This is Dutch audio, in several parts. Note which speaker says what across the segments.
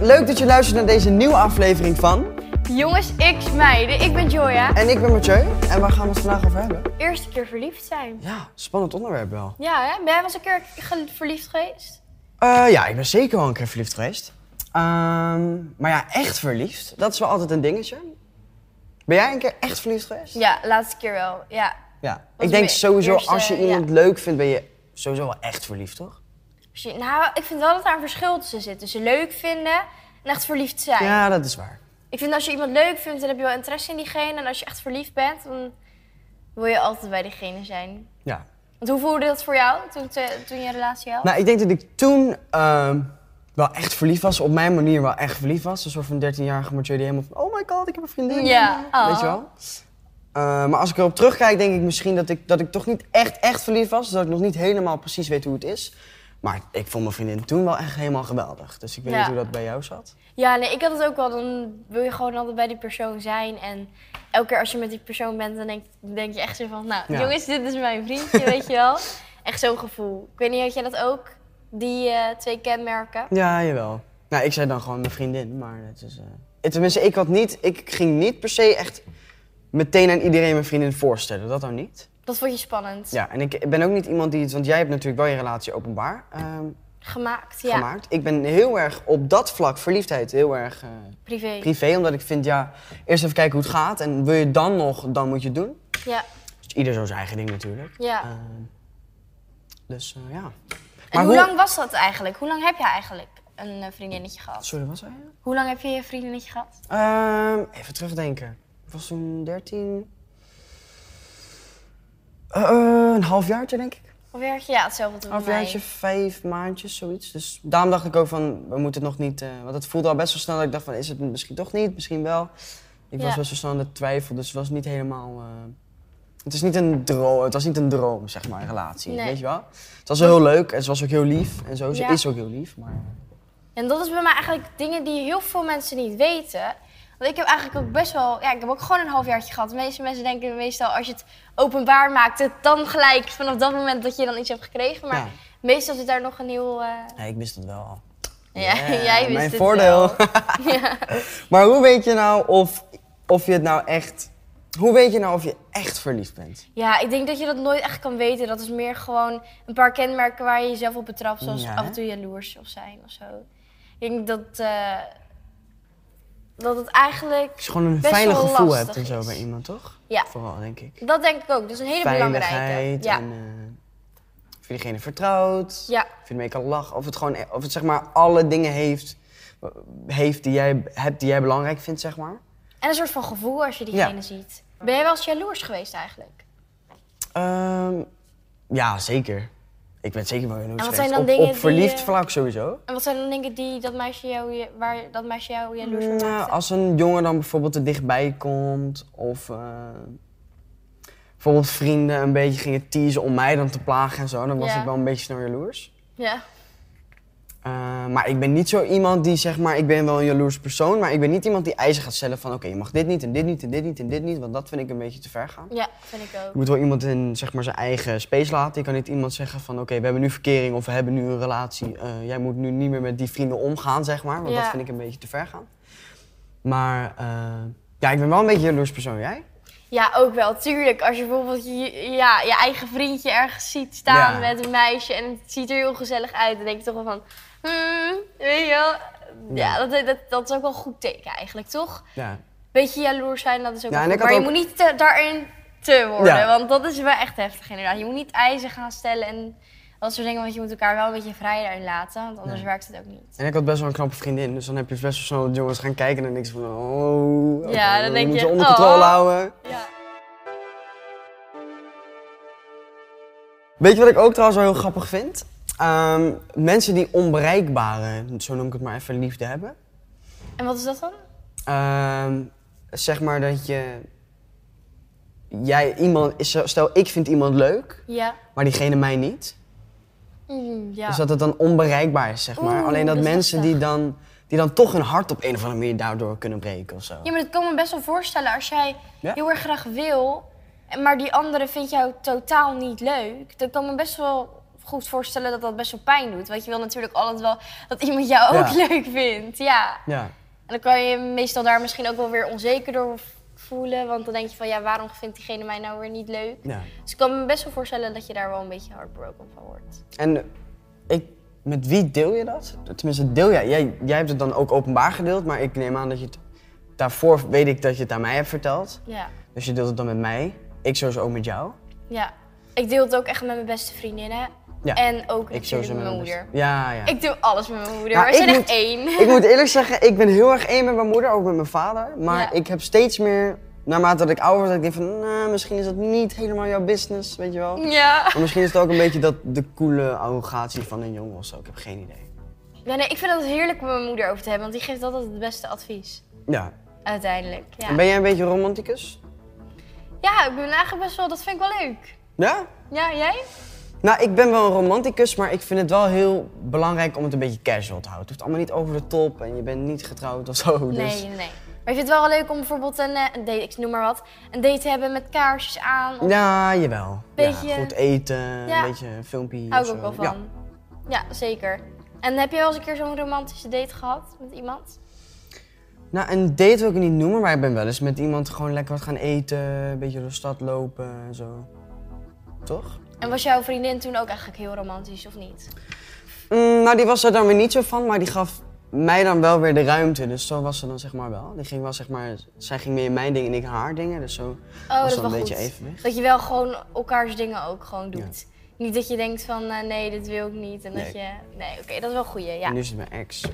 Speaker 1: Leuk dat je luistert naar deze nieuwe aflevering van.
Speaker 2: Jongens, X meiden, ik ben Joya.
Speaker 1: En ik ben Mathieu en waar gaan we het vandaag over hebben?
Speaker 2: Eerste keer verliefd zijn.
Speaker 1: Ja, spannend onderwerp wel.
Speaker 2: Ja, hè? Ben jij wel eens een keer ge- verliefd geweest?
Speaker 1: Eh, ja, ik ben zeker wel een keer verliefd geweest. Ehm, maar ja, echt verliefd, dat is wel altijd een dingetje. Ben jij een keer echt verliefd geweest?
Speaker 2: Ja, laatste keer wel. Ja.
Speaker 1: Ja.
Speaker 2: was
Speaker 1: Ik denk
Speaker 2: mijn
Speaker 1: sowieso
Speaker 2: eerste,
Speaker 1: als je iemand
Speaker 2: ja.
Speaker 1: leuk vindt, ben je sowieso wel echt verliefd, toch?
Speaker 2: Als je- Nou, ik vind wel dat daar een verschil tussen zit. Tussen leuk vinden en echt verliefd zijn.
Speaker 1: Ja, dat is waar.
Speaker 2: Ik vind als je iemand leuk vindt, dan heb je wel interesse in diegene. En als je echt verliefd bent, dan wil je altijd bij diegene zijn.
Speaker 1: Ja.
Speaker 2: Want hoe voelde dat voor jou toen, te- toen je een relatie had?
Speaker 1: Nou, ik denk dat ik toen ehm, wel echt verliefd was. Op mijn manier wel echt verliefd was. Een soort van 13-jarige Mathieu die helemaal van... Oh my god, ik heb een vriendin.
Speaker 2: Ja.
Speaker 1: Weet je wel? Eh, maar als ik erop terugkijk, denk ik misschien dat ik, dat ik toch niet echt, echt verliefd was. Dus Dat ik nog niet helemaal precies weet hoe het is. Maar ik vond mijn vriendin toen wel echt helemaal geweldig. Dus ik weet
Speaker 2: Ja.
Speaker 1: niet hoe dat bij jou zat.
Speaker 2: Ja, nee, ik had het ook wel. Dan wil je gewoon altijd bij die persoon zijn. En elke keer als je met die persoon bent, dan denk, denk je echt zo van... Nou,
Speaker 1: Ja.
Speaker 2: jongens, dit is mijn vriendje, weet je wel. Echt zo'n gevoel. Ik weet niet, had jij dat ook? Die eh, twee kenmerken?
Speaker 1: Ja, jawel. Nou, ik zei dan gewoon mijn vriendin, maar het is... eh, het- Tenminste, ik, had niet, ik ging niet per se echt meteen aan iedereen mijn vriendin voorstellen. Dat nou niet.
Speaker 2: Dat vond je spannend.
Speaker 1: Ja, en ik ben ook niet iemand die het... Want jij hebt natuurlijk wel je relatie openbaar ehm,
Speaker 2: Gemaakt, ja.
Speaker 1: gemaakt. Ik ben heel erg op dat vlak, verliefdheid, heel erg eh,
Speaker 2: Privé.
Speaker 1: privé. Omdat ik vind, ja, eerst even kijken hoe het gaat. En wil je dan nog, dan moet je het doen.
Speaker 2: Ja,
Speaker 1: Dus ieder zo zijn eigen ding natuurlijk.
Speaker 2: ja.
Speaker 1: Ehm, dus eh, ja.
Speaker 2: en hoe, lang was dat eigenlijk? Hoe lang heb je eigenlijk een eh, vriendinnetje gehad?
Speaker 1: Sorry, wat zei je?
Speaker 2: Hoe lang heb je je vriendinnetje gehad?
Speaker 1: Ehm, even terugdenken. Ik was toen 13. Eh, eh, een halfjaartje, denk ik.
Speaker 2: Alweer, ja, hetzelfde toen
Speaker 1: Een
Speaker 2: bij
Speaker 1: halfjaartje,
Speaker 2: mij.
Speaker 1: vijf maandjes, zoiets. Dus daarom dacht ik ook van, we moeten het nog niet... eh, want het voelde al best wel snel dat ik dacht van, is het misschien toch niet? Misschien wel. Ik was
Speaker 2: Ja.
Speaker 1: best wel snel in de twijfel, dus het was niet helemaal... eh, het, is niet een droom, het was niet een droom, zeg maar, een relatie,
Speaker 2: Nee.
Speaker 1: weet je wel? Het was wel heel leuk en ze was ook heel lief. En zo, ze
Speaker 2: Ja.
Speaker 1: is ook heel lief, maar...
Speaker 2: En dat is bij mij eigenlijk dingen die heel veel mensen niet weten. Want ik heb eigenlijk ook best wel, ja, ik heb ook gewoon een halfjaartje gehad. De meeste mensen denken meestal als je het openbaar maakt, het dan gelijk vanaf dat moment dat je dan iets hebt gekregen. Maar
Speaker 1: Ja.
Speaker 2: meestal zit daar nog een heel. eh,
Speaker 1: Nee, ik wist het wel al.
Speaker 2: ja, jij wist
Speaker 1: mijn
Speaker 2: het
Speaker 1: voordeel.
Speaker 2: wel. ja.
Speaker 1: Maar hoe weet je nou of, of je het nou echt... Hoe weet je nou of je echt verliefd bent?
Speaker 2: ja, ik denk dat je dat nooit echt kan weten. Dat is meer gewoon een paar kenmerken waar je jezelf op betrapt, zoals
Speaker 1: Ja, hè?
Speaker 2: af en toe jaloers of zijn of zo. Ik denk dat, eh, dat het eigenlijk.
Speaker 1: Als je gewoon een
Speaker 2: Best
Speaker 1: veilig
Speaker 2: wel
Speaker 1: gevoel
Speaker 2: lastig
Speaker 1: hebt en zo
Speaker 2: is.
Speaker 1: bij iemand, toch?
Speaker 2: Ja.
Speaker 1: Vooral, denk ik.
Speaker 2: Dat denk ik ook. Dat is een hele belangrijke.
Speaker 1: Veiligheid
Speaker 2: Ja.
Speaker 1: en eh, of je diegene vertrouwt.
Speaker 2: Ja.
Speaker 1: Of je ermee kan lachen. Of het gewoon, of het zeg maar alle dingen heeft, heeft die jij hebt die jij belangrijk vindt, zeg maar.
Speaker 2: En een soort van gevoel als je diegene
Speaker 1: Ja.
Speaker 2: ziet. Ben jij wel eens jaloers geweest eigenlijk?
Speaker 1: Ehm, ja, zeker. Ik ben zeker wel heel
Speaker 2: wat
Speaker 1: geweest.
Speaker 2: zijn dan
Speaker 1: op,
Speaker 2: dingen
Speaker 1: op
Speaker 2: die,
Speaker 1: verliefd
Speaker 2: eh,
Speaker 1: vlak sowieso.
Speaker 2: En wat zijn dan dingen die dat meisje jou, je- waar dat meisje jou jaloers voor
Speaker 1: Nou,
Speaker 2: maakte?
Speaker 1: als een jongen dan bijvoorbeeld er dichtbij komt of eh, bijvoorbeeld vrienden een beetje gingen teasen om mij dan te plagen en zo, dan was
Speaker 2: Ja.
Speaker 1: ik wel een beetje snel jaloers.
Speaker 2: Ja.
Speaker 1: Eh, maar ik ben niet zo iemand die zeg maar, ik ben wel een jaloers persoon, maar ik ben niet iemand die eisen gaat stellen van oké, je mag dit niet en dit niet en dit niet en dit niet, want dat vind ik een beetje te ver gaan.
Speaker 2: ja, vind ik ook.
Speaker 1: Je moet wel iemand in zeg maar, zijn eigen space laten. Je kan niet iemand zeggen van oké, we hebben nu verkering of we hebben nu een relatie. Eh, jij moet nu niet meer met die vrienden omgaan, zeg maar. Want dat
Speaker 2: Ja.
Speaker 1: vind ik een beetje te ver gaan. Maar eh, ja, ik ben wel een beetje een jaloers persoon. Jij?
Speaker 2: Ja, ook wel. Tuurlijk, als je bijvoorbeeld je, ja, je eigen vriendje ergens ziet staan
Speaker 1: Ja.
Speaker 2: met een meisje en het ziet er heel gezellig uit, dan denk je toch wel van, hmm, weet je wel. Ja, dat, dat, dat is ook wel een goed teken eigenlijk, toch?
Speaker 1: Ja.
Speaker 2: Beetje jaloers zijn, dat is ook
Speaker 1: Ja,
Speaker 2: wel
Speaker 1: en ik
Speaker 2: goed.
Speaker 1: had
Speaker 2: Maar je
Speaker 1: ook-
Speaker 2: moet niet te- daarin te worden,
Speaker 1: Ja.
Speaker 2: want dat is wel echt heftig inderdaad. Je moet niet eisen gaan stellen en dat soort dingen, want je moet elkaar wel een beetje vrij daarin laten, want anders
Speaker 1: Ja.
Speaker 2: werkt het ook niet.
Speaker 1: En ik had best wel een knappe vriendin. Dus dan heb je best wel snel dat jongens gaan kijken en ik zo van oh, oké,
Speaker 2: Ja, dan
Speaker 1: we
Speaker 2: denk
Speaker 1: moeten ze
Speaker 2: je,
Speaker 1: onder controle
Speaker 2: oh.
Speaker 1: houden.
Speaker 2: Ja.
Speaker 1: Weet je wat ik ook trouwens wel heel grappig vind? Ehm, mensen die onbereikbare, zo noem ik het maar even, liefde hebben.
Speaker 2: En wat is dat dan?
Speaker 1: Ehm, zeg maar dat je. Jij iemand. Stel, ik vind iemand leuk,
Speaker 2: Ja.
Speaker 1: maar diegene mij niet.
Speaker 2: Mm, ja.
Speaker 1: Dus dat het dan onbereikbaar is, zeg maar.
Speaker 2: Oeh,
Speaker 1: Alleen dat,
Speaker 2: dat is
Speaker 1: mensen die dan, die dan toch hun hart op een of andere manier daardoor kunnen breken of zo.
Speaker 2: Ja, maar dat kan me best wel voorstellen als jij
Speaker 1: Ja.
Speaker 2: heel erg graag wil, en- maar die andere vindt jou totaal niet leuk. Dat kan me best wel goed voorstellen dat dat best wel pijn doet. Want je wil natuurlijk altijd wel dat iemand jou ook
Speaker 1: Ja.
Speaker 2: leuk vindt. Ja.
Speaker 1: Ja.
Speaker 2: En dan kan je meestal daar misschien ook wel weer onzeker door voelen. Want dan denk je van ja, waarom vindt diegene mij nou weer niet leuk?
Speaker 1: ja.
Speaker 2: Dus ik kan me best wel voorstellen dat je daar wel een beetje heartbroken van wordt.
Speaker 1: En ik, met wie deel je dat? Tenminste, deel jij, jij. Jij hebt het dan ook openbaar gedeeld, maar ik neem aan dat je het. Daarvoor weet ik dat je het aan mij hebt verteld.
Speaker 2: Ja.
Speaker 1: Dus je deelt het dan met mij. Ik sowieso ook met jou.
Speaker 2: Ja. Ik deel het ook echt met mijn beste vriendinnen.
Speaker 1: Ja.
Speaker 2: En ook
Speaker 1: Ik
Speaker 2: natuurlijk
Speaker 1: sowieso
Speaker 2: met mijn
Speaker 1: beste-
Speaker 2: moeder.
Speaker 1: Ja, ja.
Speaker 2: Ik doe alles met mijn moeder.
Speaker 1: Nou,
Speaker 2: er zijn
Speaker 1: ik
Speaker 2: echt
Speaker 1: moet-
Speaker 2: één.
Speaker 1: Ik moet eerlijk zeggen, ik ben heel erg één met mijn moeder, ook met mijn vader. Maar
Speaker 2: Ja.
Speaker 1: ik heb steeds meer, naarmate dat ik ouder word, dat ik denk van, nou, misschien is dat niet helemaal jouw business, weet je wel.
Speaker 2: Ja.
Speaker 1: Maar misschien is het ook een beetje dat, de coole arrogatie van een jongen of zo. Ik heb geen idee.
Speaker 2: ja. Nee, ik vind het heerlijk om met mijn moeder over te hebben, want die geeft altijd het beste advies.
Speaker 1: Ja.
Speaker 2: Uiteindelijk. Ja,
Speaker 1: En ben jij een beetje romanticus?
Speaker 2: ja ik ben eigenlijk best wel, dat vind ik wel leuk.
Speaker 1: Ja?
Speaker 2: Ja, jij?
Speaker 1: Nou, ik ben wel een romanticus, maar ik vind het wel heel belangrijk om het een beetje casual te houden. Het hoeft allemaal niet over de top en je bent niet getrouwd of zo. Dus...
Speaker 2: Nee, nee. Maar ik vind het wel leuk om bijvoorbeeld een, eh, een date, ik noem maar wat, een date te hebben met kaarsjes aan. Of...
Speaker 1: Ja, jawel. Ja,
Speaker 2: Beetje-
Speaker 1: goed eten,
Speaker 2: Ja.
Speaker 1: een beetje een filmpje.
Speaker 2: Hou
Speaker 1: of
Speaker 2: ik ook
Speaker 1: zo.
Speaker 2: wel
Speaker 1: Ja.
Speaker 2: van. Ja. zeker. En heb je wel eens een keer zo'n romantische date gehad met iemand?
Speaker 1: Nou, een date wil ik het niet noemen, maar ik ben wel eens met iemand gewoon lekker wat gaan eten, een beetje door de stad lopen en zo. Toch?
Speaker 2: En was jouw vriendin toen ook eigenlijk heel romantisch of niet?
Speaker 1: Mm, nou, die was er dan weer niet zo van, maar die gaf mij dan wel weer de ruimte. Dus zo was ze dan zeg maar wel. Die ging wel, zeg maar, zij ging meer in mijn ding en ik in haar dingen. Dus zo was
Speaker 2: Oh, dat
Speaker 1: dan
Speaker 2: is
Speaker 1: een
Speaker 2: wel
Speaker 1: beetje
Speaker 2: goed.
Speaker 1: evenwicht.
Speaker 2: Dat je wel gewoon elkaars dingen ook gewoon doet. Niet dat je denkt van eh, nee, dit wil ik niet. En dat
Speaker 1: Nee.
Speaker 2: je. Nee, oké, dat is wel een goeie. Ja.
Speaker 1: En nu is het mijn ex.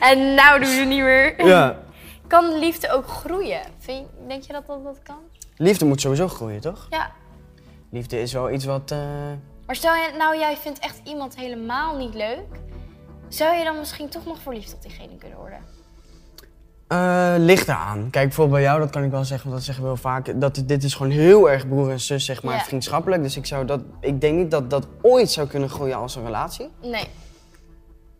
Speaker 2: en nou doen we het niet meer.
Speaker 1: Ja.
Speaker 2: Kan liefde ook groeien? Vind je- denk je dat dat, dat kan?
Speaker 1: Liefde moet sowieso groeien, toch?
Speaker 2: Ja.
Speaker 1: Liefde is wel iets wat... eh,
Speaker 2: Maar stel je nou, jij vindt echt iemand helemaal niet leuk. Zou je dan misschien toch nog verliefd op diegene kunnen worden?
Speaker 1: Eh, ligt eraan. Kijk, bijvoorbeeld bij jou, dat kan ik wel zeggen, want dat zeggen we heel vaak. Dat, dit- dit is gewoon heel erg broer en zus, zeg maar,
Speaker 2: Ja.
Speaker 1: vriendschappelijk. Dus ik, zou dat, ik denk niet dat dat ooit zou kunnen groeien als een relatie.
Speaker 2: Nee.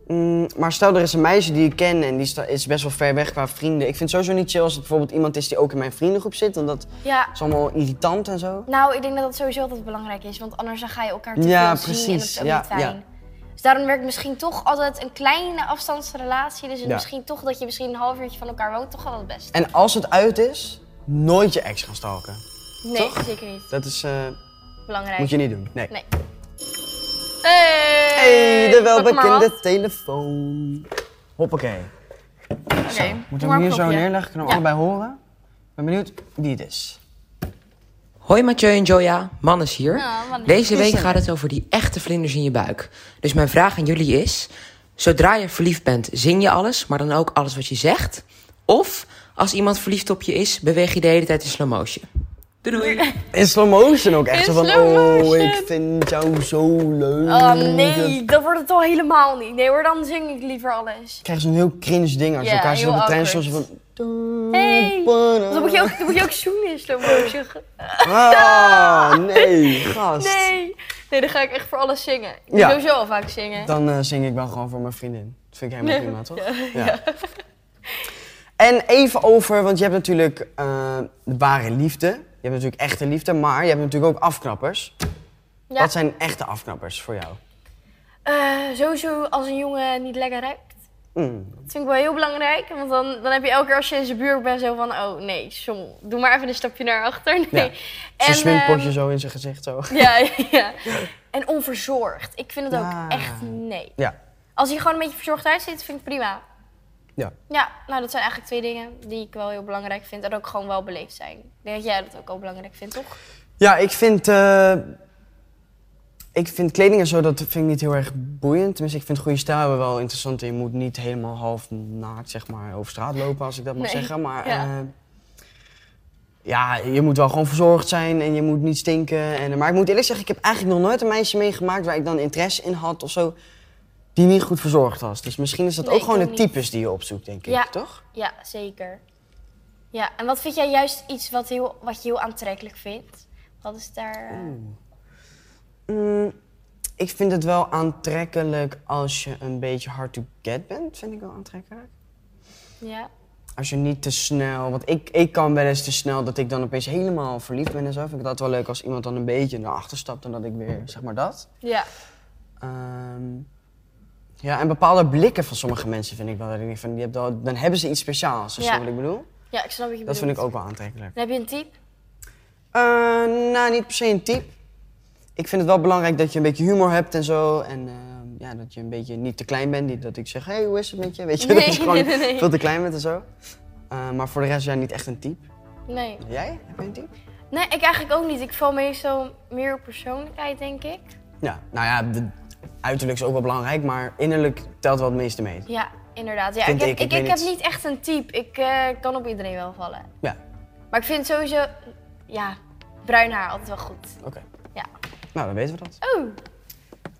Speaker 1: Mm, maar stel, er is een meisje die ik ken en die sta- is best wel ver weg qua vrienden. Ik vind het sowieso niet chill als het bijvoorbeeld iemand is die ook in mijn vriendengroep zit. Want dat
Speaker 2: Ja.
Speaker 1: is allemaal irritant en zo.
Speaker 2: Nou, ik denk dat dat sowieso altijd belangrijk is, want anders dan ga je elkaar te
Speaker 1: Ja,
Speaker 2: veel zien en dat
Speaker 1: precies.
Speaker 2: is ook
Speaker 1: Ja,
Speaker 2: niet fijn. Dus daarom werkt misschien toch altijd een kleine afstandsrelatie. Dus
Speaker 1: Ja.
Speaker 2: misschien toch dat je misschien een half uurtje van elkaar woont, toch wel het beste.
Speaker 1: En als het uit is, nooit je ex gaan stalken.
Speaker 2: Nee,
Speaker 1: Toch?
Speaker 2: zeker niet.
Speaker 1: Dat is, eh,
Speaker 2: Belangrijk.
Speaker 1: moet je niet doen. Nee.
Speaker 2: Nee. Hey,
Speaker 1: Hey, de
Speaker 2: pak maar wat.
Speaker 1: welbekende telefoon. Hoppakee.
Speaker 2: Oké, doe
Speaker 1: Moeten
Speaker 2: maar
Speaker 1: we
Speaker 2: een
Speaker 1: hem hier zo
Speaker 2: knopje.
Speaker 1: neerleggen? Kunnen we
Speaker 2: Ja.
Speaker 1: allebei horen? Ik ben benieuwd wie het is.
Speaker 3: Hoi Mathieu en Joya, Man is hier.
Speaker 2: Ja, Man is
Speaker 3: Deze week gaat het over die echte vlinders in je buik. Dus mijn vraag aan jullie is: zodra je verliefd bent, zing je alles, maar dan ook alles wat je zegt? Of als iemand verliefd op je is, beweeg je de hele tijd in slow motion? Doei doei.
Speaker 1: In slow motion ook echt. zo
Speaker 2: In
Speaker 1: van,
Speaker 2: slow
Speaker 1: oh,
Speaker 2: motion.
Speaker 1: ik vind jou zo leuk. eh,
Speaker 2: Oh nee, dat wordt het al helemaal niet. Nee hoor, dan zing ik liever alles.
Speaker 1: Ik krijg zo'n heel cringe ding als je
Speaker 2: Ja,
Speaker 1: elkaar zit
Speaker 2: heel
Speaker 1: op een trein. Zoals
Speaker 2: awkward.
Speaker 1: van...
Speaker 2: Hey. Want Dan moet je ook, dan moet je ook zoomen in slow motion.
Speaker 1: Ah, nee, gast.
Speaker 2: Nee. Nee, dan ga ik echt voor alles zingen. Ik doe
Speaker 1: Ja.
Speaker 2: sowieso al vaak zingen.
Speaker 1: Dan eh, zing ik wel gewoon voor mijn vriendin. Dat vind ik helemaal prima, toch? Ja. En even over, want je hebt natuurlijk eh, de ware liefde. Je hebt natuurlijk echte liefde, maar je hebt natuurlijk ook afknappers.
Speaker 2: Ja.
Speaker 1: Wat zijn echte afknappers voor jou?
Speaker 2: Eh, sowieso als een jongen niet lekker ruikt.
Speaker 1: Mm.
Speaker 2: Dat vind ik wel heel belangrijk. Want dan, dan heb je elke keer als je in zijn buurt bent zo van... Oh nee, som, doe maar even een stapje naar achter. Nee.
Speaker 1: Ja. Zo'n
Speaker 2: ehm,
Speaker 1: swimpotje zo in zijn gezicht zo.
Speaker 2: ja, ja. En onverzorgd. Ik vind het ook
Speaker 1: Ah.
Speaker 2: echt nee.
Speaker 1: Ja,
Speaker 2: Als hij gewoon een beetje verzorgd uitziet, vind ik prima.
Speaker 1: ja.
Speaker 2: Ja, nou dat zijn eigenlijk twee dingen die ik wel heel belangrijk vind. En ook gewoon wel beleefd zijn. Ik denk dat jij dat ook wel belangrijk vindt, toch?
Speaker 1: Ja, ik vind, eh, ik vind kleding en zo, dat vind ik niet heel erg boeiend. Tenminste, ik vind goede stijl hebben wel interessant. Je moet niet helemaal half naakt, zeg maar, over straat lopen, als ik dat mag
Speaker 2: Nee,
Speaker 1: zeggen. Maar
Speaker 2: ja.
Speaker 1: ja. ja, je moet wel gewoon verzorgd zijn en je moet niet stinken. En, maar ik moet eerlijk zeggen, ik heb eigenlijk nog nooit een meisje meegemaakt waar ik dan interesse in had of zo, die niet goed verzorgd was. Dus misschien is dat
Speaker 2: Nee,
Speaker 1: ook
Speaker 2: ik
Speaker 1: gewoon
Speaker 2: ook
Speaker 1: de
Speaker 2: niet.
Speaker 1: types die je opzoekt, denk ik,
Speaker 2: Ja.
Speaker 1: toch?
Speaker 2: Ja, zeker. Ja, en wat vind jij juist iets wat, heel, wat je heel aantrekkelijk vindt? Wat is daar... eh,
Speaker 1: Mm, ik vind het wel aantrekkelijk als je een beetje hard to get bent, vind ik wel aantrekkelijk.
Speaker 2: ja?
Speaker 1: Als je niet te snel, want ik, ik kan wel eens te snel dat ik dan opeens helemaal verliefd ben en zo. Vind ik dat wel leuk als iemand dan een beetje naar achter stapt en dat ik weer, zeg maar dat.
Speaker 2: Ja.
Speaker 1: Ehm, ja, en bepaalde blikken van sommige mensen vind ik wel. dat ik denk van, die hebben wel- dan hebben ze iets speciaals, als je
Speaker 2: Ja.
Speaker 1: wat ik bedoel.
Speaker 2: ja, ik snap wat je
Speaker 1: Dat
Speaker 2: bedoelt.
Speaker 1: vind ik ook wel aantrekkelijk.
Speaker 2: Dan heb je een type.
Speaker 1: Eh, nou, niet per se een type. Ik vind het wel belangrijk dat je een beetje humor hebt en zo. En ehm, ja, dat je een beetje niet te klein bent. Niet dat ik zeg, hey, hoe is het met je? Weet je, dat
Speaker 2: Nee,
Speaker 1: je gewoon
Speaker 2: nee, nee.
Speaker 1: veel te klein bent en zo. Eh, maar voor de rest, ja, niet echt een type.
Speaker 2: Nee.
Speaker 1: Jij? Heb je een type?
Speaker 2: Nee, ik eigenlijk ook niet. Ik val meestal meer op persoonlijkheid, denk ik.
Speaker 1: Ja, nou ja, de- uiterlijk is ook wel belangrijk, maar innerlijk telt wel het meeste mee.
Speaker 2: Ja, inderdaad. Ja,
Speaker 1: Vind
Speaker 2: ik
Speaker 1: ik,
Speaker 2: heb, ik,
Speaker 1: ik
Speaker 2: ik,
Speaker 1: weet
Speaker 2: heb
Speaker 1: niet.
Speaker 2: niet echt een type. Ik eh, kan op iedereen wel vallen.
Speaker 1: Ja,
Speaker 2: Maar ik vind sowieso, ja, bruin haar altijd wel goed.
Speaker 1: oké.
Speaker 2: Ja.
Speaker 1: Nou, dan weten we dat.
Speaker 2: Oh.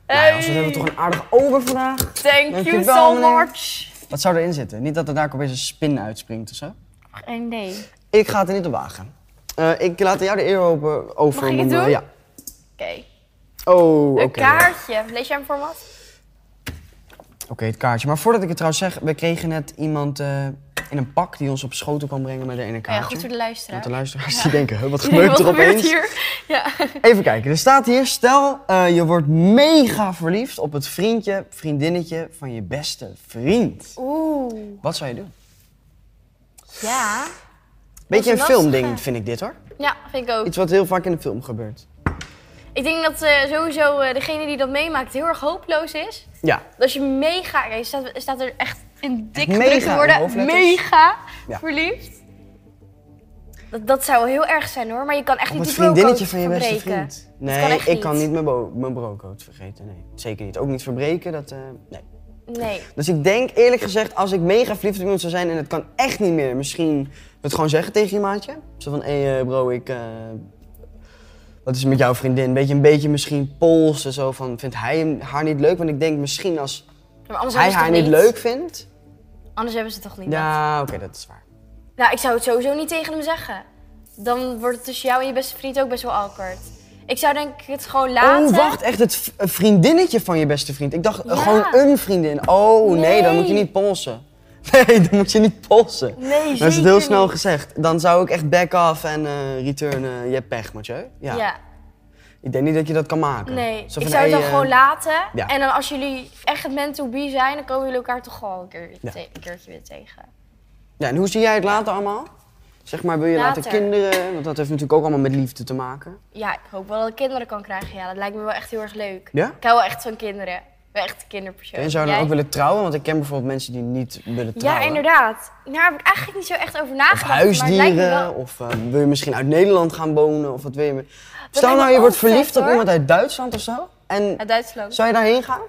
Speaker 1: Nou, jongens, we
Speaker 2: Hey.
Speaker 1: hebben toch een aardige ober vandaag.
Speaker 2: Thank you
Speaker 1: Dankjewel,
Speaker 2: so
Speaker 1: meneer.
Speaker 2: much.
Speaker 1: Wat zou erin zitten? Niet dat er daar opeens een spin uitspringt of zo.
Speaker 2: Geen idee.
Speaker 1: Ik ga het er niet op wagen. Eh, ik laat jou de eer open over.
Speaker 2: Mag ik
Speaker 1: om
Speaker 2: het
Speaker 1: hem, eh,
Speaker 2: doen?
Speaker 1: Ja.
Speaker 2: Oké.
Speaker 1: Oh, oké.
Speaker 2: Een kaartje. Lees jij hem voor wat?
Speaker 1: Oké, het kaartje. Maar voordat ik het trouwens zeg, we kregen net iemand eh, in een pak die ons op schoten kwam brengen met een ene
Speaker 2: Oh ja,
Speaker 1: kaartje.
Speaker 2: goed voor de
Speaker 1: Want
Speaker 2: luisteraar.
Speaker 1: de luisteraars die denken, huh, wat gebeurt
Speaker 2: wat
Speaker 1: er
Speaker 2: gebeurt
Speaker 1: opeens?
Speaker 2: hier? Ja.
Speaker 1: Even kijken, er staat hier, stel eh, je wordt mega verliefd op het vriendje, vriendinnetje van je beste vriend.
Speaker 2: Oeh.
Speaker 1: Wat zou je doen?
Speaker 2: Ja.
Speaker 1: Beetje een
Speaker 2: een lastige.
Speaker 1: filmding vind ik dit hoor.
Speaker 2: Ja, vind ik ook.
Speaker 1: Iets wat heel vaak in de film gebeurt.
Speaker 2: Ik denk dat eh, sowieso eh, degene die dat meemaakt heel erg hopeloos is.
Speaker 1: Ja,
Speaker 2: Als je mega, er staat, er staat er echt in dik
Speaker 1: Mega
Speaker 2: gedrukt
Speaker 1: in
Speaker 2: worden,
Speaker 1: hoofdletters.
Speaker 2: mega
Speaker 1: Ja.
Speaker 2: verliefd. Dat, dat zou heel erg zijn hoor, maar je kan echt
Speaker 1: op
Speaker 2: niet
Speaker 1: het
Speaker 2: die bro-code
Speaker 1: vriendinnetje van je beste
Speaker 2: verbreken.
Speaker 1: vriend. Nee,
Speaker 2: kan echt
Speaker 1: ik kan
Speaker 2: niet.
Speaker 1: niet mijn, bo- mijn broodcode vergeten. Nee, zeker niet. Ook niet verbreken, dat... eh, nee.
Speaker 2: Nee,
Speaker 1: Dus ik denk eerlijk gezegd, als ik mega verliefd op iemand zou zijn en het kan echt niet meer, misschien het gewoon zeggen tegen je maatje. Zo van, hé eh, bro, ik. eh, wat is het met jouw vriendin? Beetje, een beetje misschien polsen zo van, vindt hij hem, haar niet leuk? Want ik denk misschien als
Speaker 2: maar anders
Speaker 1: hij
Speaker 2: hebben ze
Speaker 1: haar
Speaker 2: toch
Speaker 1: niet leuk vindt.
Speaker 2: Anders hebben ze toch niet. dat.
Speaker 1: Ja, oké, dat is waar.
Speaker 2: Nou, ik zou het sowieso niet tegen hem zeggen. Dan wordt het tussen jou en je beste vriend ook best wel awkward. Ik zou denk ik het gewoon laten.
Speaker 1: Oh, wacht, echt het v- een vriendinnetje van je beste vriend. Ik dacht eh,
Speaker 2: Ja.
Speaker 1: gewoon een vriendin. Oh nee. dan moet je
Speaker 2: Nee.
Speaker 1: niet polsen. Nee, dan moet je niet polsen.
Speaker 2: Nee,
Speaker 1: dat is het heel
Speaker 2: zeker
Speaker 1: snel
Speaker 2: niet.
Speaker 1: gezegd. Dan zou ik echt back off en eh returnen. Je hebt pech, Mathieu.
Speaker 2: Ja,
Speaker 1: Ik denk niet dat je dat kan maken.
Speaker 2: nee.
Speaker 1: Zo van,
Speaker 2: ik zou het
Speaker 1: hey,
Speaker 2: dan
Speaker 1: eh,
Speaker 2: gewoon laten.
Speaker 1: ja.
Speaker 2: En dan als jullie echt het meant to be zijn, dan komen jullie elkaar toch gewoon een, keer,
Speaker 1: Ja.
Speaker 2: te- een keertje weer tegen.
Speaker 1: Ja, en hoe zie jij het later allemaal? Zeg maar, wil je later,
Speaker 2: Later.
Speaker 1: kinderen? Want dat heeft natuurlijk ook allemaal met liefde te maken.
Speaker 2: Ja, ik hoop wel dat ik kinderen kan krijgen. Ja, dat lijkt me wel echt heel erg leuk.
Speaker 1: Ja?
Speaker 2: Ik hou wel echt van kinderen. Ik ben echt een kinderpersoon.
Speaker 1: En zou je dan
Speaker 2: Jij?
Speaker 1: ook willen trouwen? Want ik ken bijvoorbeeld mensen die niet willen
Speaker 2: Ja,
Speaker 1: trouwen.
Speaker 2: inderdaad. Daar heb ik eigenlijk niet zo echt over
Speaker 1: Of
Speaker 2: nagedacht. Maar het lijkt me
Speaker 1: huisdieren,
Speaker 2: wel...
Speaker 1: of eh, wil je misschien uit Nederland gaan wonen? Of wat wil je? me- Stel
Speaker 2: lijkt
Speaker 1: nou,
Speaker 2: me
Speaker 1: je wordt
Speaker 2: ook vet,
Speaker 1: verliefd op
Speaker 2: hoor.
Speaker 1: iemand uit Duitsland of zo. En
Speaker 2: Uit Duitsland.
Speaker 1: zou je daarheen gaan?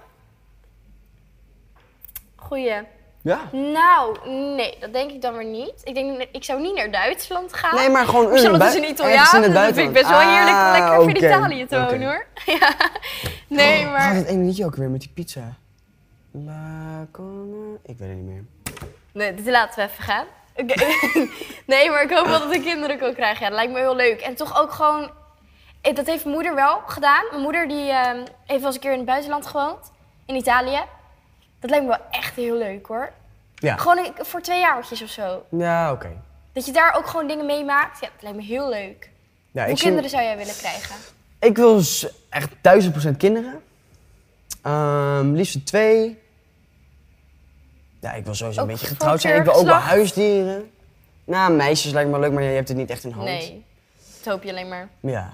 Speaker 2: Goeie.
Speaker 1: Ja.
Speaker 2: Nou, nee, dat denk ik dan weer niet. Ik denk, ik zou niet naar Duitsland gaan.
Speaker 1: Nee, maar gewoon
Speaker 2: Misschien
Speaker 1: een
Speaker 2: omdat
Speaker 1: bui-
Speaker 2: het een
Speaker 1: ergens in
Speaker 2: Italiaan.
Speaker 1: het
Speaker 2: Dat vind
Speaker 1: buitenland.
Speaker 2: ik best wel heerlijk om
Speaker 1: Ah,
Speaker 2: lekker voor
Speaker 1: oké,
Speaker 2: Italië te
Speaker 1: oké. Oh,
Speaker 2: wonen hoor. Ja. Nee,
Speaker 1: Waar gaat
Speaker 2: maar.
Speaker 1: het ene liedje ook weer met die pizza? La Cona- Ik weet het niet meer.
Speaker 2: Nee, dit laten we even gaan. Oké. nee, maar ik hoop wel dat ik kinderen kan krijgen. Ja, dat lijkt me heel leuk. En toch ook gewoon. eh, Dat heeft mijn moeder wel gedaan. Mijn moeder die, ehm, heeft wel eens een keer in het buitenland gewoond, in Italië. Dat lijkt me wel echt heel leuk hoor.
Speaker 1: Ja.
Speaker 2: Gewoon een- voor twee jaartjes of zo.
Speaker 1: Ja, oké.
Speaker 2: Dat je daar ook gewoon dingen meemaakt. Ja, dat lijkt me heel leuk.
Speaker 1: Ja,
Speaker 2: Hoe
Speaker 1: ik zie-
Speaker 2: kinderen zou jij willen krijgen?
Speaker 1: Ik wil z- echt duizend procent kinderen. Ehm liefst twee. Ja, ik wil sowieso een
Speaker 2: Ook
Speaker 1: beetje
Speaker 2: van
Speaker 1: getrouwd zijn. Ik wil ook wel
Speaker 2: keurgeslacht?
Speaker 1: huisdieren. Nou, meisjes lijkt me leuk, maar je hebt het niet echt in hand.
Speaker 2: Nee, dat hoop je alleen maar.
Speaker 1: Ja.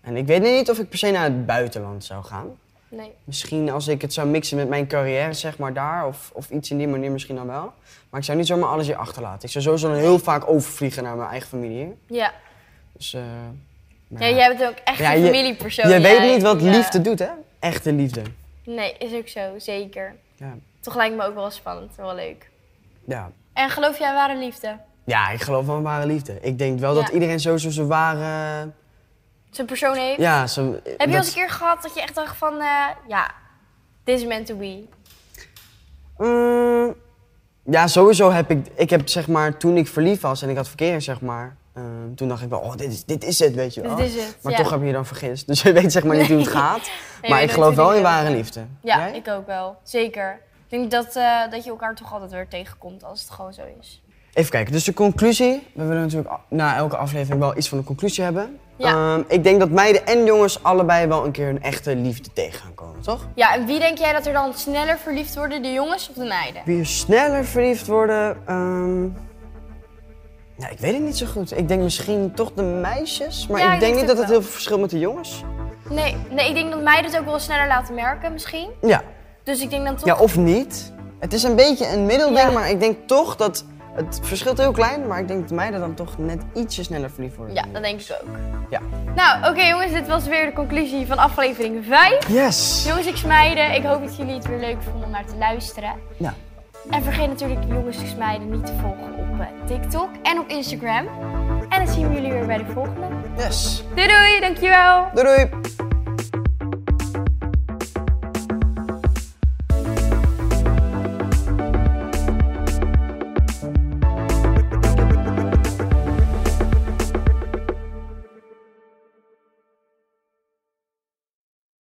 Speaker 1: En ik weet niet of ik per se naar het buitenland zou gaan.
Speaker 2: Nee.
Speaker 1: Misschien als ik het zou mixen met mijn carrière, zeg maar daar. Of, of iets in die manier misschien dan wel. Maar ik zou niet zomaar alles hier achterlaten. Ik zou sowieso dan heel vaak overvliegen naar mijn eigen familie hier.
Speaker 2: Ja.
Speaker 1: Dus, eh, maar
Speaker 2: ja. jij bent ook echt
Speaker 1: Ja,
Speaker 2: een
Speaker 1: je-
Speaker 2: familiepersoon.
Speaker 1: je weet
Speaker 2: jij.
Speaker 1: niet wat
Speaker 2: Ja.
Speaker 1: liefde doet, hè? Echte liefde.
Speaker 2: Nee, is ook zo, zeker.
Speaker 1: Ja.
Speaker 2: Toch lijkt me ook wel spannend en wel leuk.
Speaker 1: ja.
Speaker 2: En geloof jij aan ware liefde?
Speaker 1: Ja, ik geloof wel in ware liefde. Ik denk wel
Speaker 2: Ja.
Speaker 1: dat iedereen sowieso zijn ware...
Speaker 2: Zo'n persoon heeft?
Speaker 1: Ja, zijn,
Speaker 2: Heb je
Speaker 1: dat-
Speaker 2: al eens een keer gehad dat je echt dacht van, eh, ja, this is meant to be?
Speaker 1: Mm, ja, sowieso heb ik... Ik heb zeg maar, toen ik verliefd was en ik had verkeer, zeg maar... eh, toen dacht ik wel, oh, dit is, dit is het, weet je wel.
Speaker 2: Dit is het,
Speaker 1: maar
Speaker 2: ja.
Speaker 1: toch heb je je dan vergist. Dus je weet zeg maar niet hoe het gaat. maar
Speaker 2: weet
Speaker 1: ik
Speaker 2: nooit
Speaker 1: geloof
Speaker 2: hoe
Speaker 1: wel
Speaker 2: die
Speaker 1: in ware
Speaker 2: gaat.
Speaker 1: liefde.
Speaker 2: Ja,
Speaker 1: Jij?
Speaker 2: ik ook wel. Zeker. Ik denk dat, eh, dat je elkaar toch altijd weer tegenkomt als het gewoon zo is.
Speaker 1: Even kijken, dus de conclusie. We willen natuurlijk a- na elke aflevering wel iets van een conclusie hebben.
Speaker 2: Ja.
Speaker 1: Ehm, ik denk dat meiden en jongens allebei wel een keer hun echte liefde tegen gaan komen, toch?
Speaker 2: Ja, en wie denk jij dat er dan sneller verliefd worden, de jongens of de meiden?
Speaker 1: Wie sneller verliefd worden? ehm, Nou, ik weet het niet zo goed. Ik denk misschien toch de meisjes, maar
Speaker 2: Ja,
Speaker 1: ik denk
Speaker 2: ik denk
Speaker 1: niet
Speaker 2: het
Speaker 1: dat het
Speaker 2: wel.
Speaker 1: heel veel verschil met de jongens.
Speaker 2: Nee, nee, ik denk dat meiden het ook wel sneller laten merken misschien.
Speaker 1: Ja,
Speaker 2: Dus ik denk dan toch...
Speaker 1: Ja, of niet. Het is een beetje een middelding,
Speaker 2: Ja.
Speaker 1: maar ik denk toch dat... Het verschilt heel klein, maar ik denk dat meiden dan toch net ietsje sneller verliefd worden.
Speaker 2: Ja, dat denk ik dus ook.
Speaker 1: Ja.
Speaker 2: Nou, oké jongens, dit was weer de conclusie van aflevering 5.
Speaker 1: Yes!
Speaker 2: Jongens, ik smijden. Ik hoop dat jullie het weer leuk vonden om naar te luisteren.
Speaker 1: Ja.
Speaker 2: En vergeet natuurlijk Jongens, ik smijden niet te volgen op eh, TikTok en op Instagram. En dan zien we jullie weer bij de volgende.
Speaker 1: Yes.
Speaker 2: Doei doei, dankjewel!
Speaker 1: Doei doei!